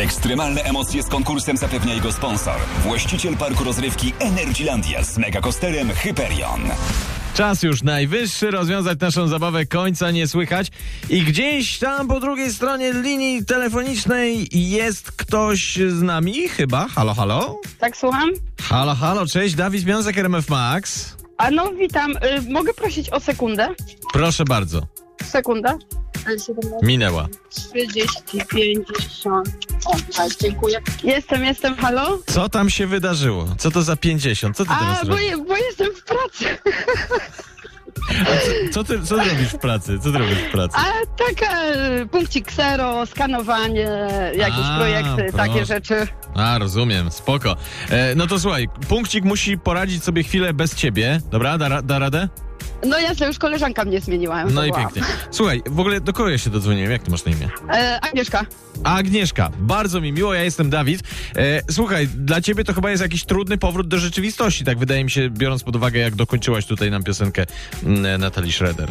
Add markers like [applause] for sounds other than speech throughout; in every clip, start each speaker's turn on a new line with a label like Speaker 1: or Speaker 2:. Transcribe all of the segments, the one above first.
Speaker 1: Ekstremalne emocje z konkursem zapewnia jego sponsor. Właściciel parku rozrywki Energylandia z megakosterem Hyperion.
Speaker 2: Czas już najwyższy rozwiązać naszą zabawę, końca nie słychać. I gdzieś tam po drugiej stronie linii telefonicznej jest ktoś z nami, chyba. Halo, halo?
Speaker 3: Tak, słucham?
Speaker 2: Halo, halo, cześć, Dawid Związek RMF Max.
Speaker 3: A no, witam. Y, mogę prosić o sekundę?
Speaker 2: Proszę bardzo,
Speaker 3: Sekunda.
Speaker 2: minęła.
Speaker 3: 30, 50. O, tak, dziękuję. Jestem, jestem, halo?
Speaker 2: Co tam się wydarzyło? Co to za 50? Co ty teraz
Speaker 3: A, bo,
Speaker 2: robisz?
Speaker 3: je, bo jestem w pracy.
Speaker 2: Co ty, co ty robisz w pracy? Co ty robisz w pracy?
Speaker 3: A taka, y, punkcik ksero, skanowanie, jakieś
Speaker 2: A,
Speaker 3: projekty, takie
Speaker 2: proszę.
Speaker 3: rzeczy.
Speaker 2: A, rozumiem, spoko. E, no to słuchaj, punkcik musi poradzić sobie chwilę bez ciebie, dobra? Da, ra- da radę?
Speaker 3: No jasne, już koleżanka mnie zmieniła.
Speaker 2: No i
Speaker 3: Wow.
Speaker 2: pięknie. Słuchaj, w ogóle do kogo ja się dodzwoniłem? Jak ty masz na imię?
Speaker 3: E, Agnieszka,
Speaker 2: A Agnieszka, bardzo mi miło, ja jestem Dawid. E, słuchaj, dla ciebie to chyba jest jakiś trudny powrót do rzeczywistości, tak wydaje mi się, biorąc pod uwagę, jak dokończyłaś tutaj nam piosenkę mm, Natalii Schroeder.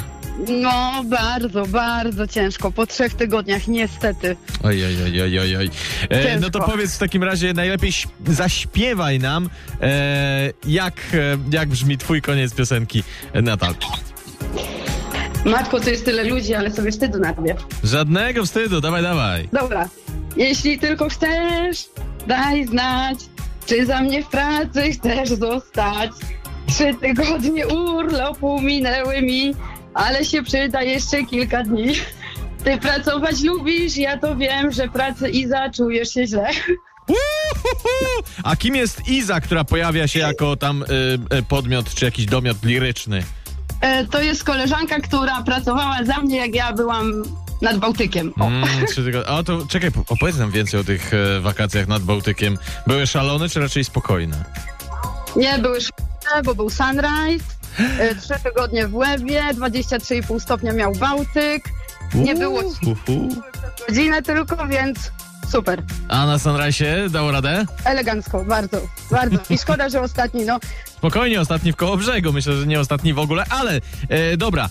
Speaker 3: no bardzo, bardzo ciężko. Po trzech tygodniach, niestety.
Speaker 2: Oj, oj, oj, oj, oj, oj. E,
Speaker 3: Ciężko.
Speaker 2: no to powiedz w takim razie, najlepiej śp- zaśpiewaj nam, e, jak, e, jak brzmi twój koniec piosenki e, Natalki.
Speaker 3: Matko, to jest tyle ludzi, ale sobie wstydu na robię.
Speaker 2: Żadnego wstydu, dawaj, dawaj.
Speaker 3: Dobra. Jeśli tylko chcesz, daj znać, czy za mnie w pracy chcesz zostać. Trzy tygodnie urlopu minęły mi, ale się przyda jeszcze kilka dni. Ty pracować lubisz, ja to wiem, że pracy i zaczujesz się źle.
Speaker 2: Uhuhu! A kim jest Iza, która pojawia się jako tam y, y, podmiot czy jakiś domiot liryczny?
Speaker 3: E, to jest koleżanka, która pracowała za mnie, jak ja byłam nad Bałtykiem. O.
Speaker 2: Mm, trzy tygodnie. A to czekaj, po- opowiedz nam więcej o tych e, wakacjach nad Bałtykiem. Były szalone czy raczej spokojne?
Speaker 3: Nie, były szkole, bo był sunrise, e, trzy tygodnie w Łebie, 23,5 stopnia miał Bałtyk. Nie było
Speaker 2: Uhuhu.
Speaker 3: godzinę tylko, więc super.
Speaker 2: A na Sunrise dało radę?
Speaker 3: Elegancko, bardzo, bardzo. I szkoda, że ostatni, no.
Speaker 2: Spokojnie, ostatni w koło brzegu. Myślę, że nie ostatni w ogóle, ale e, dobra,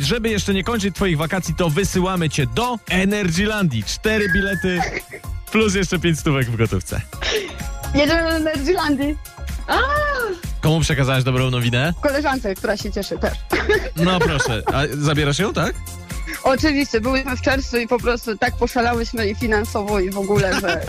Speaker 2: e, żeby jeszcze nie kończyć Twoich wakacji, to wysyłamy Cię do Energylandii. Cztery bilety plus jeszcze pięć stówek w gotówce.
Speaker 3: Jedziemy do Energylandii. A,
Speaker 2: Komu przekazałeś dobrą nowinę?
Speaker 3: koleżance, która się cieszy też.
Speaker 2: No proszę, a zabierasz ją, tak?
Speaker 3: Oczywiście, byłyśmy w czerwcu i po prostu tak poszalałyśmy i finansowo i w ogóle, że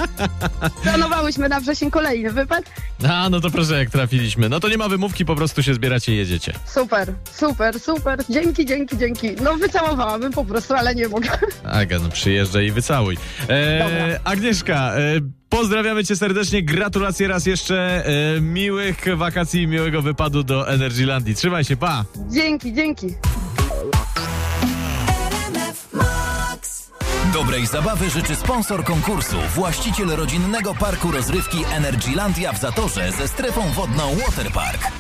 Speaker 3: planowałyśmy na wrzesień kolejny wypad.
Speaker 2: A, no to proszę, jak trafiliśmy. No to nie ma wymówki, po prostu się zbieracie i jedziecie.
Speaker 3: Super, super, super. Dzięki, dzięki, dzięki. No wycałowałabym po prostu, ale nie mogę. [laughs]
Speaker 2: Aga, no przyjeżdżaj i wycałuj. E,
Speaker 3: Dobra.
Speaker 2: Agnieszka, e, pozdrawiamy cię serdecznie, gratulacje raz jeszcze, e, miłych wakacji i miłego wypadu do Energylandii. Trzymaj się, pa!
Speaker 3: Dzięki, dzięki.
Speaker 1: Dobrej zabawy życzy sponsor konkursu, właściciel rodzinnego parku rozrywki Energylandia w Zatorze ze strefą wodną Waterpark.